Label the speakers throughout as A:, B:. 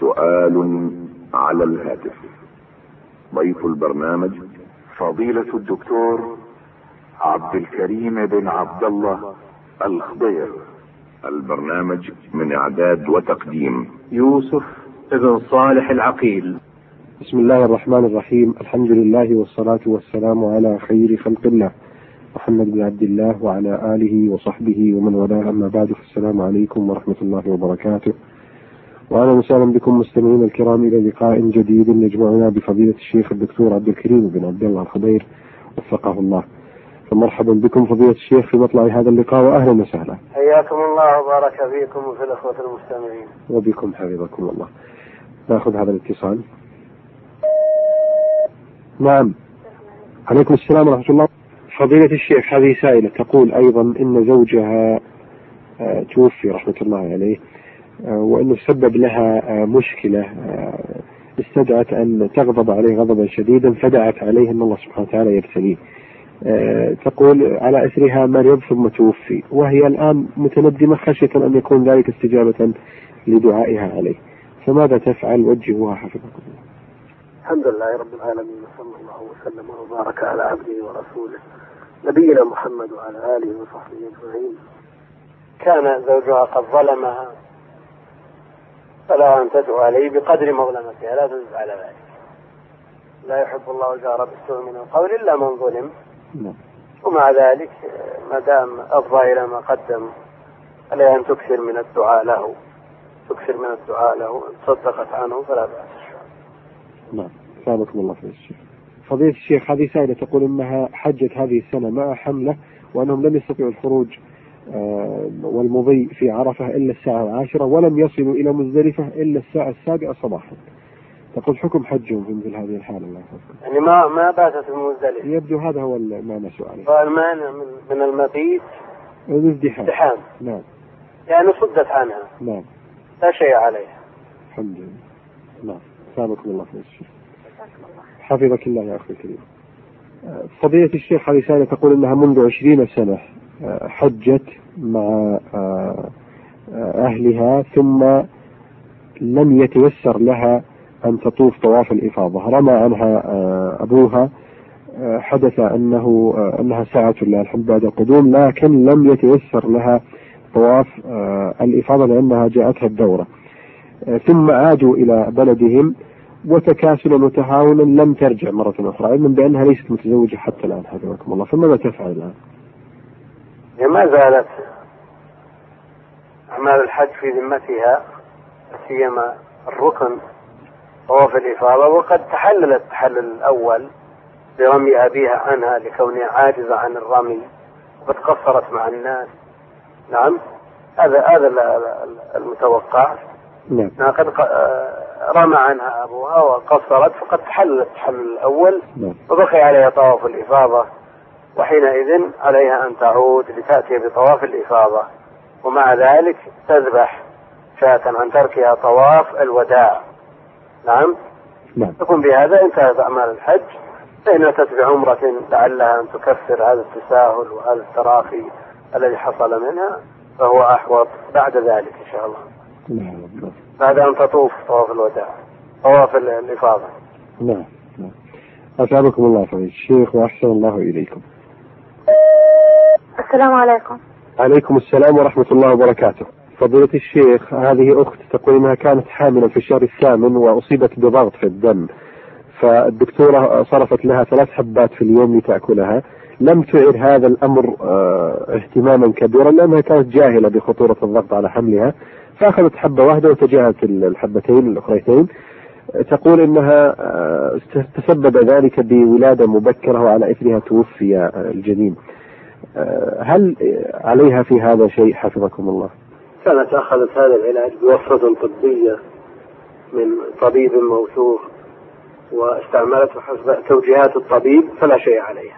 A: سؤال على الهاتف ضيف البرنامج فضيلة الدكتور عبد الكريم بن عبد الله الخضير البرنامج من اعداد وتقديم
B: يوسف ابن صالح العقيل
C: بسم الله الرحمن الرحيم الحمد لله والصلاة والسلام على خير خلق الله محمد بن عبد الله وعلى آله وصحبه ومن والاه أما بعد فالسلام عليكم ورحمة الله وبركاته وأهلا وسهلا بكم مستمعينا الكرام إلى لقاء جديد يجمعنا بفضيلة الشيخ الدكتور عبد الكريم بن عبد الله الخضير وفقه الله فمرحبا بكم فضيلة الشيخ في مطلع هذا اللقاء وأهلا وسهلا
D: حياكم الله وبارك فيكم وفي الأخوة المستمعين
C: وبكم حفظكم الله ناخذ هذا الاتصال نعم عليكم السلام ورحمة الله فضيلة الشيخ هذه سائلة تقول أيضا إن زوجها آه، توفي رحمة الله عليه آه، وأنه سبب لها آه، مشكلة آه، استدعت أن تغضب عليه غضبا شديدا فدعت عليه أن الله سبحانه وتعالى يبتليه آه، تقول على أثرها مريض ثم توفي وهي الآن متندمة خشية أن يكون ذلك استجابة لدعائها عليه فماذا تفعل وجهوها حفظكم الله
D: الحمد لله رب العالمين وصلى الله وسلم وبارك على عبده ورسوله نبينا محمد وعلى آله وصحبه أجمعين كان زوجها قد ظلمها فلها أن تدعو عليه بقدر مظلمتها لا تزد على ذلك لا يحب الله الجار بالسوء من القول إلا من ظلم
C: نعم
D: ومع ذلك ما دام أفضى إلى ما قدم عليه أن تكثر من الدعاء له تكثر من الدعاء له إن صدقت عنه فلا بأس
C: نعم سابقكم الله خير الشيخ فضيلة الشيخ هذه سائلة تقول أنها حجت هذه السنة مع حملة وأنهم لم يستطيعوا الخروج آه، والمضي في عرفة إلا الساعة العاشرة ولم يصلوا إلى مزدلفة إلا الساعة السابعة صباحا تقول حكم حجهم في مثل هذه الحالة الله يحفظكم
D: يعني ما ما باتت المزدلفة
C: يبدو هذا هو ال- ما نسوا عليه
D: فالمانع من, من المبيت
C: الازدحام
D: ازدحام
C: نعم
D: يعني صدت عنها
C: نعم
D: لا شيء عليها
C: الحمد لله نعم سابقكم الله خير الشيخ حفظك الله يا أخي الكريم آه، فضيلة الشيخ هذه سائلة تقول أنها منذ عشرين سنة آه، حجت مع آه، آه، أهلها ثم لم يتيسر لها أن تطوف طواف الإفاضة رمى عنها آه، أبوها آه، حدث أنه آه، أنها ساعة لله الحمد بعد القدوم لكن لم يتيسر لها طواف آه، الإفاضة لأنها جاءتها الدورة آه، ثم عادوا إلى بلدهم وتكاسلا وتهاونا لم ترجع مرة أخرى علما بأنها ليست متزوجة حتى الآن حفظكم الله فماذا تفعل الآن؟
D: هي ما زالت أعمال الحج في ذمتها سيما الركن طواف الإفاضة وقد تحللت التحلل الأول برمي أبيها عنها لكونها عاجزة عن الرمي وقد قصرت مع الناس نعم هذا هذا ال- ال- المتوقع
C: نعم
D: أنها قد ق- آه، رمى عنها أبوها وقصرت فقد تحللت التحلل الأول
C: نعم
D: وبقي عليها طواف الإفاضة وحينئذ عليها أن تعود لتأتي بطواف الإفاضة ومع ذلك تذبح شاة عن تركها طواف الوداع نعم
C: نعم
D: تكون بهذا انتهت أعمال الحج فإن أتت بعمرة لعلها أن تكفر هذا التساهل وهذا التراخي الذي حصل منها فهو أحوط بعد ذلك إن شاء الله
C: نعم نعم
D: بعد أن تطوف طواف الوداع طواف ال- الإفاضة
C: نعم نعم أسعدكم الله فضيلة الشيخ وأحسن الله إليكم
E: السلام عليكم
C: عليكم السلام ورحمة الله وبركاته فضيلة الشيخ هذه أخت تقول أنها كانت حاملا في الشهر الثامن وأصيبت بضغط في الدم فالدكتورة صرفت لها ثلاث حبات في اليوم لتأكلها لم تعر هذا الأمر آه، اهتماما كبيرا لأنها كانت جاهلة بخطورة الضغط على حملها فأخذت حبة واحدة وتجاهلت الحبتين الأخريتين تقول انها آه، تسبب ذلك بولاده مبكره وعلى اثرها توفي آه، الجنين. آه، هل آه، عليها في هذا شيء حفظكم الله؟
D: كانت أخذت هذا العلاج بوصفة طبية من طبيب موثوق واستعملته حسب توجيهات الطبيب فلا شيء عليها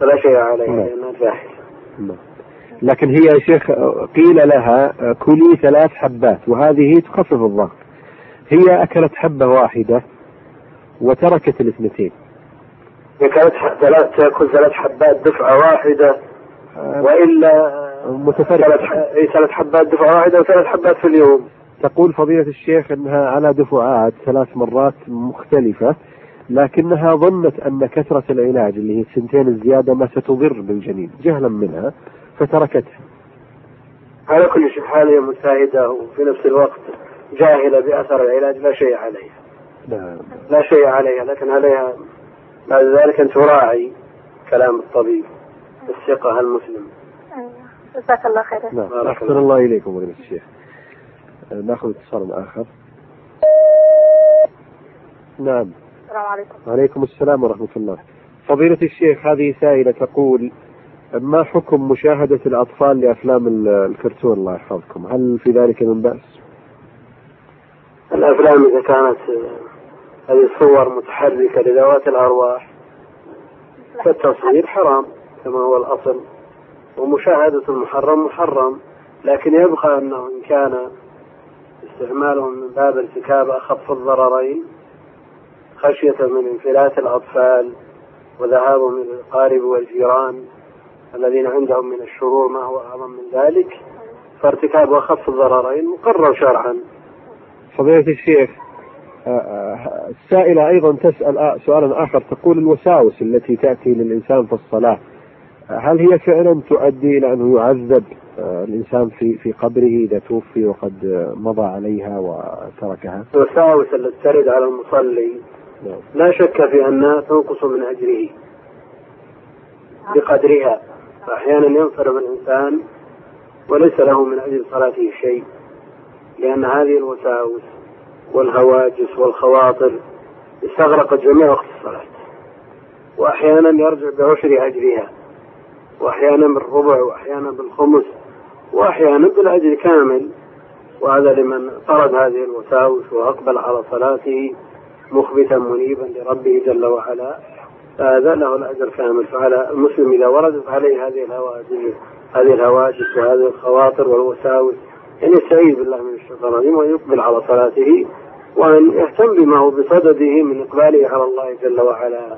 D: فلا شيء عليها
C: نعم.
D: لأنها جاهلة
C: لكن هي يا شيخ آه، قيل لها آه، كلي ثلاث حبات وهذه تخفف الضغط. هي اكلت حبه واحده وتركت الاثنتين.
D: هي كانت ح- ثلاث تأكل ثلاث حبات دفعة واحدة
C: آه،
D: وإلا
C: متفرقة.
D: ثلاث ح- إيه، ثلاث حبات دفعة واحدة وثلاث حبات في اليوم
C: تقول فضيلة الشيخ أنها على دفعات ثلاث مرات مختلفة لكنها ظنت أن كثرة العلاج اللي هي السنتين الزيادة ما ستضر بالجنين جهلا منها فتركتها
D: على كل شيء حاليا مجتهدة وفي نفس الوقت جاهلة بأثر العلاج لا شيء عليها
C: نعم
D: لا شيء عليها لكن عليها بعد ذلك أن تراعي كلام الطبيب الثقة المسلم
E: ايوه جزاك الله خير
C: نعم
D: بارك
C: أحسن الله إليكم فضيلة الشيخ آه، ناخذ اتصال آخر نعم
E: السلام عليكم
C: عليكم السلام ورحمة الله فضيلة الشيخ هذه سائلة تقول ما حكم مشاهدة الأطفال لأفلام ال- الكرتون الله يحفظكم هل في ذلك من بأس
D: الأفلام إذا كانت آه، هذه الصور متحركة لذوات الأرواح فالتصوير حرام كما هو الأصل ومشاهدة المحرم محرم لكن يبقى أنه إن كان استعمالهم من باب ارتكاب أخف الضررين خشية من انفلات الأطفال وذهابهم إلى الأقارب والجيران الذين عندهم من الشرور ما هو أعظم من ذلك فارتكاب أخف الضررين مقرر شرعا
C: فضيلة الشيخ آه، آه، السائلة أيضا تسأل آه، سؤالا آخر تقول الوساوس التي تأتي للإنسان في الصلاة آه، هل هي فعلا تؤدي إلى أنه يعذب آه، الإنسان في في قبره إذا توفي وقد آه، مضى عليها وتركها؟
D: الوساوس التي ترد على المصلي
C: نعم.
D: لا شك في أنها تنقص من أجره بقدرها فأحيانا ينصرف الإنسان وليس له من أجل صلاته شيء لأن هذه الوساوس والهواجس والخواطر استغرقت جميع وقت الصلاة وأحيانا يرجع بعشر أجرها وأحيانا بالربع وأحيانا بالخمس وأحيانا بالأجر كامل وهذا لمن طرد هذه الوساوس وأقبل على صلاته مخبتا منيبا لربه جل وعلا فهذا له الاجر كامل فعلى المسلم اذا وردت عليه هذه الهواجس هذه الهواجس وهذه الخواطر والوساوس ان يستعيذ بالله من الشيطان الرجيم وان يقبل على صلاته وان يهتم بما هو بصدده من اقباله على الله جل وعلا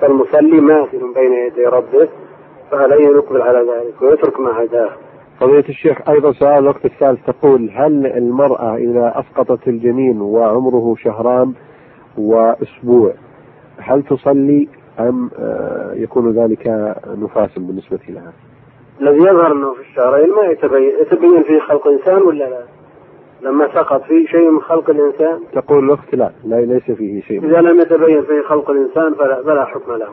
D: فالمصلي ماثل بين يدي ربه فعليه ان يقبل على ذلك ويترك ما عداه
C: فضيلة الشيخ أيضا سؤال الوقت الثالث تقول هل المرأة إذا أسقطت الجنين وعمره شهران وأسبوع هل تصلي أم آه، يكون ذلك نفاسا بالنسبة لها؟
D: الذي يظهر انه في الشهرين ما يتبين يتبين فيه خلق انسان ولا لا؟ لما سقط فيه شيء من خلق الانسان
C: تقول الوقت لا, لا ليس فيه شيء
D: إذا لم يتبين فيه خلق الإنسان فلا, فلا حكم له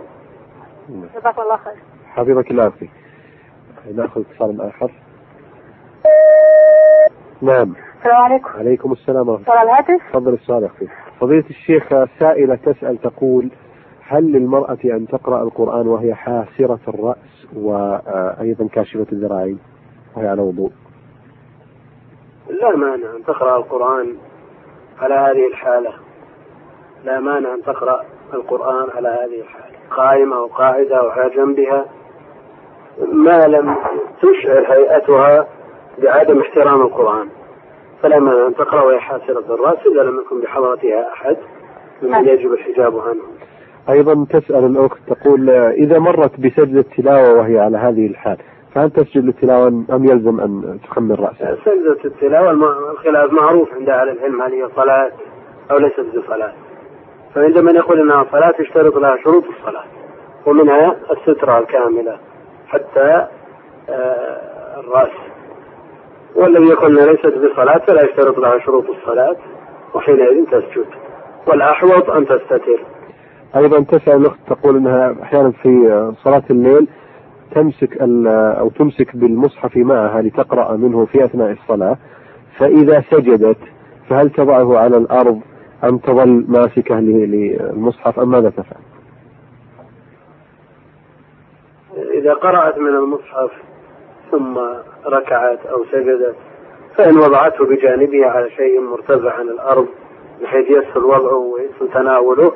E: جزاك الله خير
C: حفظك الله أخي نأخذ اتصال آخر نعم
E: السلام عليكم
C: عليكم السلام ورحمة الله
E: على الهاتف
C: تفضل السؤال أخي فضيلة الشيخ سائلة تسأل تقول هل للمرأة أن تقرأ القرآن وهي حاسرة الرأس وأيضا كاشفة الذراعين وهي على وضوء
D: لا مانع أن تقرأ القرآن على هذه الحالة لا مانع أن تقرأ القرآن على هذه الحالة قائمة أو قاعدة أو على جنبها ما لم تشعر هيئتها بعدم احترام القرآن فلا مانع أن تقرأ وهي حاسرة الرأس إذا لم يكن بحضرتها أحد ممن يجب الحجاب عنه
C: أيضا تسأل الأخت تقول آه، إذا مرت بسجدة تلاوة وهي على هذه الحال فهل تسجد للتلاوة أم يلزم أن تخمر رأسها؟
D: سجدة التلاوة الم- الخلاف معروف عند أهل العلم هل هي صلاة أو ليست بصلاة فعند من يقول أنها صلاة يشترط لها شروط الصلاة ومنها السترة الكاملة حتى آه، الرأس والذي يقول أنها ليست بصلاة فلا يشترط لها شروط الصلاة وحينئذ تسجد والأحوط أن تستتر
C: أيضا تسأل الأخت تقول أنها أحيانا في صلاة الليل تمسك ال- أو تمسك بالمصحف معها لتقرأ منه في أثناء الصلاة فإذا سجدت فهل تضعه على الأرض أم تظل ماسكة ل- للمصحف أم ماذا تفعل؟
D: إذا قرأت من المصحف ثم ركعت أو سجدت فإن وضعته بجانبه على شيء مرتفع عن الأرض بحيث يسهل وضعه ويسهل تناوله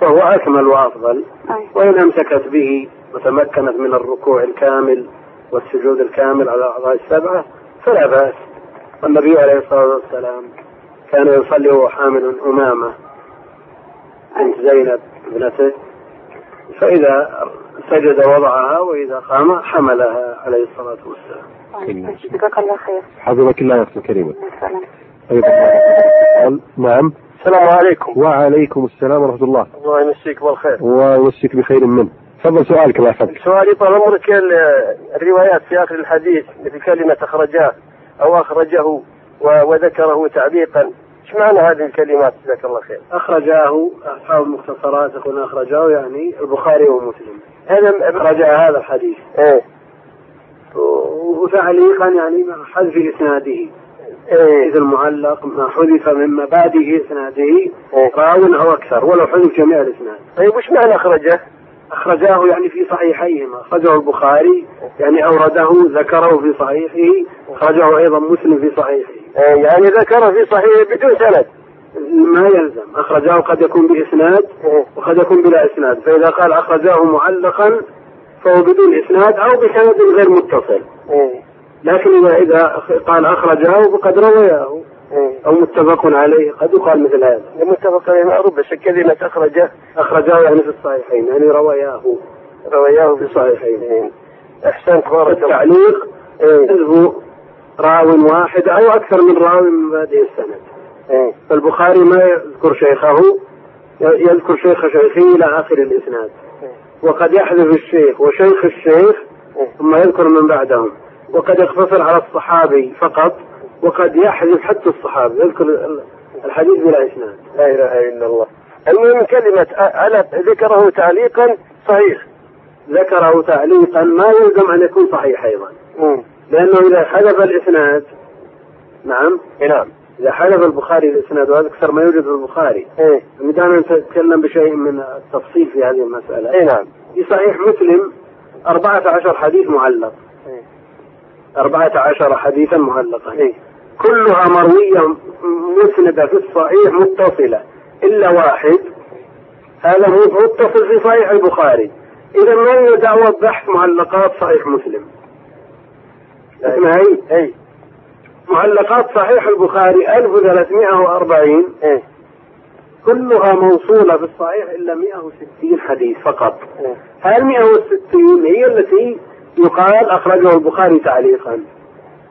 D: فهو أكمل وأفضل
E: أيوة.
D: وإن أمسكت به وتمكنت من الركوع الكامل والسجود الكامل على الأعضاء السبعة فلا بأس والنبي عليه الصلاة والسلام كان يصلي وهو حامل أمامة بنت زينب ابنته فإذا سجد وضعها وإذا قام حملها عليه الصلاة والسلام
E: طيب. جزاك الله خير
C: حفظك الله يا أختي الكريمة
E: السلام
C: ايضا نعم
F: السلام عليكم
C: وعليكم السلام ورحمه الله
F: الله يمسيك بالخير
C: ويمسيك بخير منه تفضل سؤالك الله يحفظك
F: سؤالي طال عمرك ال- الروايات في اخر الحديث مثل كلمه اخرجاه او اخرجه و- وذكره تعليقا ايش معنى هذه الكلمات جزاك الله خير؟
D: أخرجاه أصحاب المختصرات يقولون أخرجاه يعني البخاري ومسلم
F: هذا
D: أخرج هذا الحديث
F: ايه
D: و- وتعليقا يعني مع حذف إسناده
F: ايه
D: إذ المعلق ما حذف من مبادئ إسناده
F: إيه.
D: راو أو أكثر ولو حذف جميع الإسناد
F: طيب وش معنى اخرجه؟
D: أخرجاه يعني في صحيحيهما أخرجه البخاري يعني أورده ذكره في صحيحه أخرجه أيضا مسلم في صحيحه
F: إيه يعني ذكره في صحيح بدون سند
D: ما يلزم أخرجاه قد يكون بإسناد
F: إيه.
D: وقد يكون بلا إسناد فإذا قال أخرجاه معلقا فهو بدون إسناد أو بسند غير متصل
F: ايه
D: لكن إذا إذا قال أخرجاه فقد روياه
F: ايه
D: أو متفق عليه قد يقال مثل هذا
F: المتفق عليه معروف بس كلمه اخرجه
D: أخرجاه يعني في الصحيحين يعني روياه
F: رواياه
D: في
F: في
D: الصحيحين
F: صحيحين احسنت بارك الله
D: التعليق
F: ايه
D: حذف راو واحد أو أكثر من راو من مبادئ السند
F: ايه
D: فالبخاري ما يذكر شيخه يذكر شيخ شيخه إلى آخر الإسناد وقد يحذف الشيخ وشيخ الشيخ ثم يذكر من بعدهم وقد يقتصر على الصحابي فقط وقد يحذف حتى الصحابي يذكر ال- الحديث بلا إسناد
F: لا اله الا الله المهم كلمه أ- على ذكره تعليقا صحيح
D: ذكره تعليقا ما يلزم أن يكون صحيح أيضا
F: امم
D: لأنه إذا حذف الإسناد نعم
F: نعم
D: إذا حذف البخاري الإسناد وهذا أكثر ما يوجد في البخاري
F: ايه
D: دائما نتكلم بشيء من التفصيل في هذه المسألة
F: ايه نعم
D: في صحيح مسلم 14 حديث معلق
F: إيه.
D: 14 حديثا معلقا كلها مروية م- مسندة في الصحيح متصلة إلا واحد هذا هو متصل في صحيح البخاري إذا ما هي دعوة بحث معلقات صحيح مسلم اسمها هي
F: ايه
D: إيه. معلقات صحيح البخاري 1340
F: ايه
D: كلها موصولة في الصحيح إلا 160 حديث فقط
F: إيه.
D: هل 160 هي التي يقال أخرجه البخاري تعليقا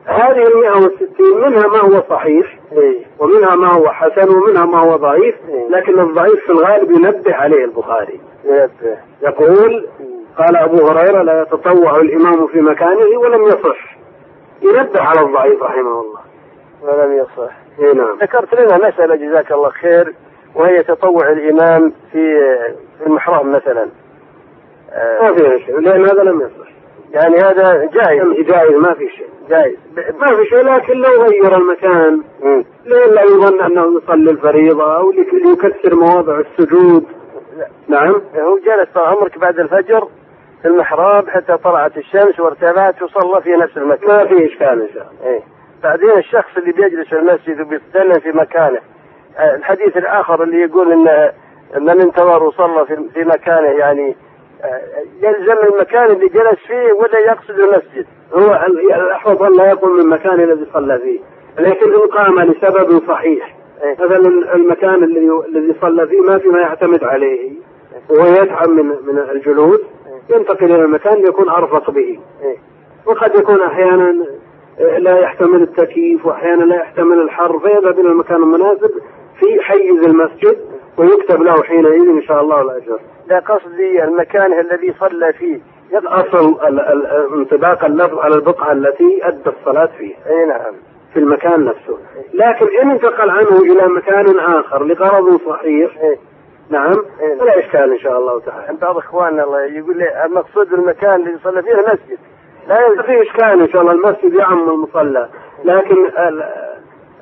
D: هذه ال 160 منها ما هو صحيح
F: ايه
D: ومنها ما هو حسن ومنها ما هو ضعيف لكن الضعيف في الغالب ينبه عليه البخاري
F: ينبه.
D: يقول
F: مم.
D: قال أبو هريرة لا يتطوع الإمام في مكانه ولم يصح ينبه على الضعيف رحمه الله
F: ولم يصح
D: اي نعم
F: ذكرت لنا مسألة جزاك الله خير وهي تطوع الإمام في في المحراب مثلا
D: ما
F: آه،
D: فيها شيء لأن هذا لم يصح
F: يعني هذا جائز
D: جائز ما في شيء
F: جائز
D: ما في شيء لكن لو غير المكان
F: مم.
D: لئلا يظن انه يصلي الفريضه او لك- ليكسر مواضع السجود
F: لا.
D: نعم
F: هو جلس طال عمرك بعد الفجر في المحراب حتى طلعت الشمس وارتفعت وصلى في نفس المكان
D: ما في اشكال ان شاء الله
F: إيه. بعدين الشخص اللي بيجلس في المسجد وبيتدلل في مكانه آه، الحديث الآخر اللي يقول إن من انتظر وصلى في في مكانه يعني آه، يلزم المكان اللي جلس فيه ولا يقصد المسجد
D: هو ال- الاحوط ان لا يقوم من المكان الذي صلى فيه لكن ان قام لسبب صحيح
F: إيه.
D: مثلا المكان الذي الذي صلى فيه ما في ما يعتمد
F: إيه.
D: عليه وهو يتعب من من الجلوس ينتقل الى مكان يكون ارفق به
F: إيه.
D: وقد يكون احيانا آه، لا يحتمل التكييف واحيانا لا يحتمل الحر فيذهب الى المكان المناسب في حيز المسجد
F: إيه.
D: ويكتب له حينئذ ان شاء الله الاجر.
F: لا قصدي المكان الذي صلى فيه
D: الاصل ال- ال- انطباق اللفظ على البقعه التي ادى الصلاه فيها
F: اي نعم
D: في المكان نفسه، لكن ان انتقل عنه الى مكان اخر لغرض صحيح
F: إيه.
D: نعم
F: إيه.
D: فلا اشكال ان شاء الله تعالى.
F: بعض اخواننا الله يقول لي المقصود المكان اللي صلى فيه المسجد لا
D: ما
F: يلزم
D: في اشكال ان شاء الله المسجد يعم المصلى لكن ال-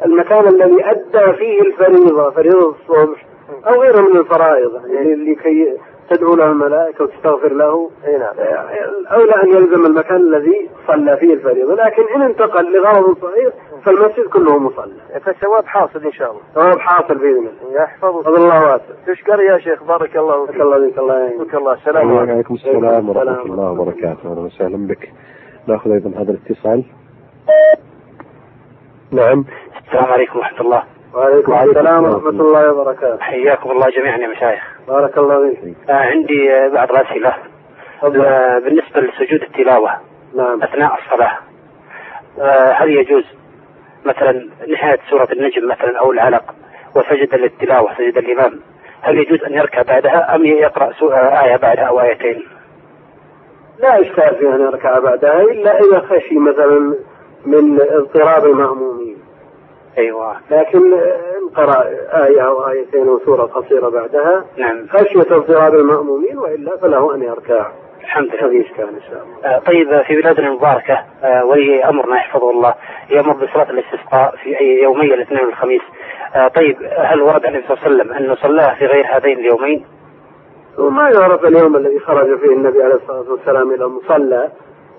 D: المكان الذي ادى فيه الفريضه فريضه الصبح او غيره من الفرائض
F: إيه.
D: يعني لكي تدعو له الملائكه وتستغفر له إيه.
F: اي نعم
D: اولى ان يلزم المكان الذي صلى فيه الفريضه لكن ان انتقل لغرض صحيح فالمسجد كله مصلى
F: فالثواب حاصل ان شاء الله
G: طيب،
D: ثواب حاصل باذن الله
F: يحفظك
D: فضل الله واسع
F: تشكر يا شيخ بارك الله
D: بارك
F: فيك
D: الله فيك الله يعينك
F: بارك الله السلام عليكم
C: وعليكم السلام ورحمه الله وبركاته اهلا وسهلا بك ناخذ ايضا هذا الاتصال نعم
G: السلام عليم ورحمة الله
D: وعليكم
C: وعليكم
D: السلام
C: السلام.
D: ورحمه الله وبركاته
G: حياكم الله جميعا يا مشايخ
D: بارك الله فيك
G: آه، عندي آه، بعض الأسئلة
D: تفضل.
G: آه، بالنسبة لسجود التلاوة
D: نعم
G: أثناء الصلاة آه، هل يجوز مثلا نهاية سورة النجم مثلا أو العلق وسجد للتلاوة سجد الإمام هل يجوز أن يركع بعدها أم يقرأ سو- آية بعدها أو آيتين؟
D: لا إشكال في أن يركع بعدها إلا إذا خشي مثلا من اضطراب المأمومين
G: أيوة
D: لكن إن قرأ آية أو آيتين وسورة قصيرة بعدها
G: نعم
D: خشية اضطراب المأمومين وإلا فله أن يركع
G: الحمد لله
D: هذه إشكال إن شاء الله
G: آه، طيب في بلادنا المباركة آه، ولي أمرنا يحفظه الله يأمر بصلاة الاستسقاء في أي يومي الاثنين والخميس آه، طيب هل ورد عن النبي صلى الله عليه وسلم أنه صلاها في غير هذين اليومين؟
D: وما يعرف اليوم الذي خرج فيه النبي عليه الصلاة والسلام إلى المصلى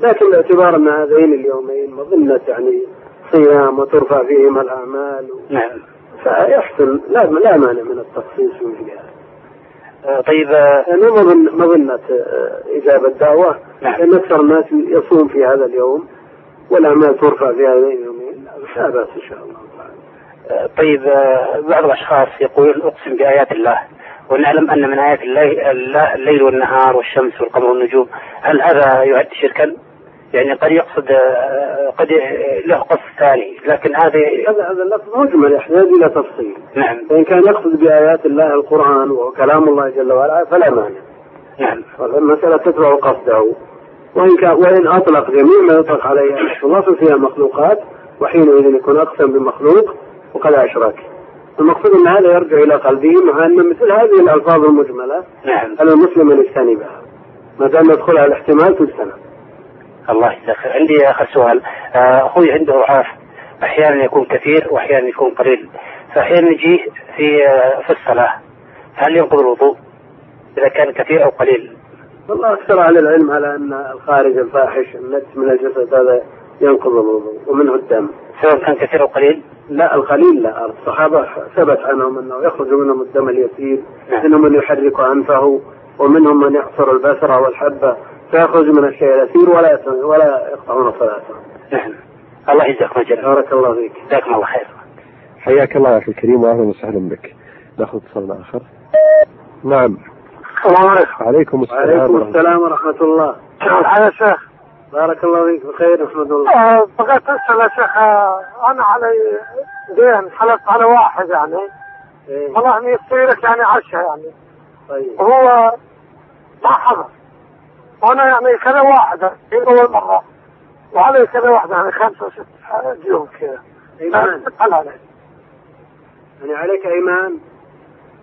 D: لكن باعتبار أن هذين اليومين مظنة يعني صيام وترفع فيهما الأعمال
G: نعم
D: فيحصل لا لا مانع من التخصيص في مثل هذا
G: آه، طيب آه،
D: يعني مظن مظنة آه، إجابة الدعوة
G: نعم.
D: لأن أكثر الناس يصوم في هذا اليوم والأعمال ترفع في هذين اليومين لا بأس إن شاء الله تعالى
G: آه، طيب آه، بعض الأشخاص يقولون أقسم بآيات الله ونعلم أن من آيات الله الله الليل والنهار والشمس والقمر والنجوم هل هذا يعد شركا؟ يعني قد يقصد آه، قد له قصد ثاني لكن هذه
D: هذا هذا اللفظ مجمل يحتاج إلى تفصيل
G: نعم
D: فإن كان يقصد بآيات الله القرآن وكلام الله جل وعلا فلا مانع
G: نعم
D: المسألة تتبع قصده وإن كان وإن أطلق جميع ما يطلق عليه أشخاص الله ففيها مخلوقات وحينئذ يكون أقسم بمخلوق وقد أشرك المقصود أن هذا يرجع إلى قلبه مع أن مثل هذه الألفاظ المجملة
G: نعم
D: على المسلم أن يجتنبها ما دام يدخلها الاحتمال تجتنب
G: الله يجزاك خير. عندي اخر سؤال آه، اخوي عنده ضعاف احيانا يكون كثير واحيانا يكون قليل فاحيانا يجيه في آه، في الصلاه هل ينقض الوضوء اذا كان كثير او قليل
D: والله أكثر أهل العلم على أن الخارج الفاحش النجس من الجسد هذا ينقض الوضوء ومنه الدم
G: سواء كان كثير او قليل
D: لا القليل لا الصحابة ثبت عنهم أنه يخرج منهم الدم اليسير منهم من يحرك أنفه ومنهم من يعصر البصرة والحبة فيخرج من الشيء اليسير ولا يت- ولا يقطعون صلاته
G: نعم الله يجزاكم اجر
D: بارك الله فيك
G: جزاكم الله خير
C: حياك الله يا اخي الكريم واهلا وسهلا بك ناخذ اتصال اخر نعم
D: السلام عليكم
C: عليكم السلام
D: وعليكم
C: ورحمة
D: السلام ورحمة الله
F: الحال يا شيخ
D: بارك الله فيك بخير نحمد الله
F: آه، بغيت اسال يا شيخ آه، انا علي دين حلفت على واحد يعني
D: إيه،
F: والله اني يشتري لك يعني عشاء يعني
D: طيب
F: وهو ما حضر وانا يعني كذا واحدة هي اول مرة وعلي كذا واحدة يعني خمسة وست ديون كذا
D: إيمان
F: أنا علي
D: يعني عليك إيمان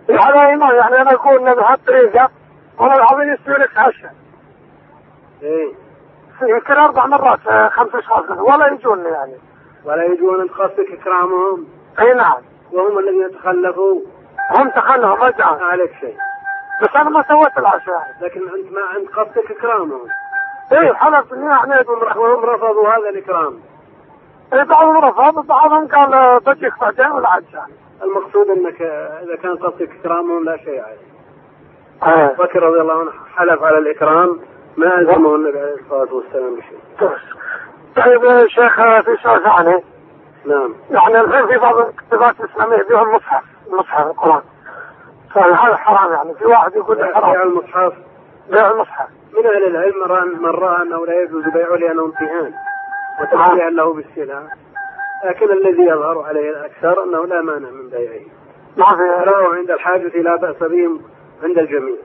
F: على ايمان يعني انا اقول ان بهالطريقة والله العظيم يشتري لك عشاء
D: إيه
F: يمكن اربع مرات آه، خمس اشخاص ولا يجوني يعني
D: ولا يجون من خاصك إكرامهم
F: اي نعم
D: وهم الذين يتخلفوا
F: هم تخلهم
D: ما
F: رجعا
D: عليك شيء
F: بس انا ما سويت العشاء يعني
D: لكن أنت ما عند قصدك إكرامهم
F: اي حلفت اني يعني
D: هم هم رفضوا هذا الإكرام
F: إيه، بعضهم رفض بعضهم قال آه، بجيك بعدين والعد يعني
D: المقصود أنك آه، إذا كان قصدك إكرامهم لا شيء عليه
F: ايه
D: بكر رضي الله عنه حلف على الإكرام ما ألزمه النبي عليه الصلاة والسلام بشيء
F: طيب يا شيخ آه، في شيء ثاني
D: نعم
F: يعني الحين في بعض الكتابات الاسلاميه فيها المصحف المصحف القران فهذا حرام يعني في واحد يقول لي
D: بيع
F: حرام
D: المصحف
F: بيع المصحف
D: من أهل العلم رأى أن- من رأى أنه لا يجوز بيعه لأنه امتهان وتشجيع له بالسلع لكن الذي يظهر عليه الأكثر أنه لا مانع من بيعه
F: ما في
D: رأوا عند الحاجة لا بأس بهم عند الجميع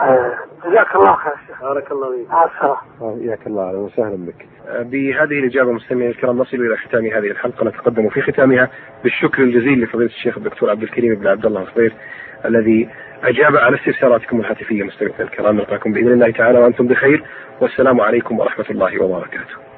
F: آه، جزاك الله خير يا شيخ
D: بارك الله فيك
F: مع السلامه
C: الله حياك الله اهلا وسهلا بك
H: بهذه الإجابة مستمعينا الكرام نصل إلى ختام هذه الحلقة نتقدم في ختامها بالشكر الجزيل لفضيلة الشيخ الدكتور عبد الكريم بن عبد الله الخضير الذي أجاب على استفساراتكم الهاتفية مستمعينا الكرام نلقاكم بإذن الله تعالى وأنتم بخير والسلام عليكم ورحمة الله وبركاته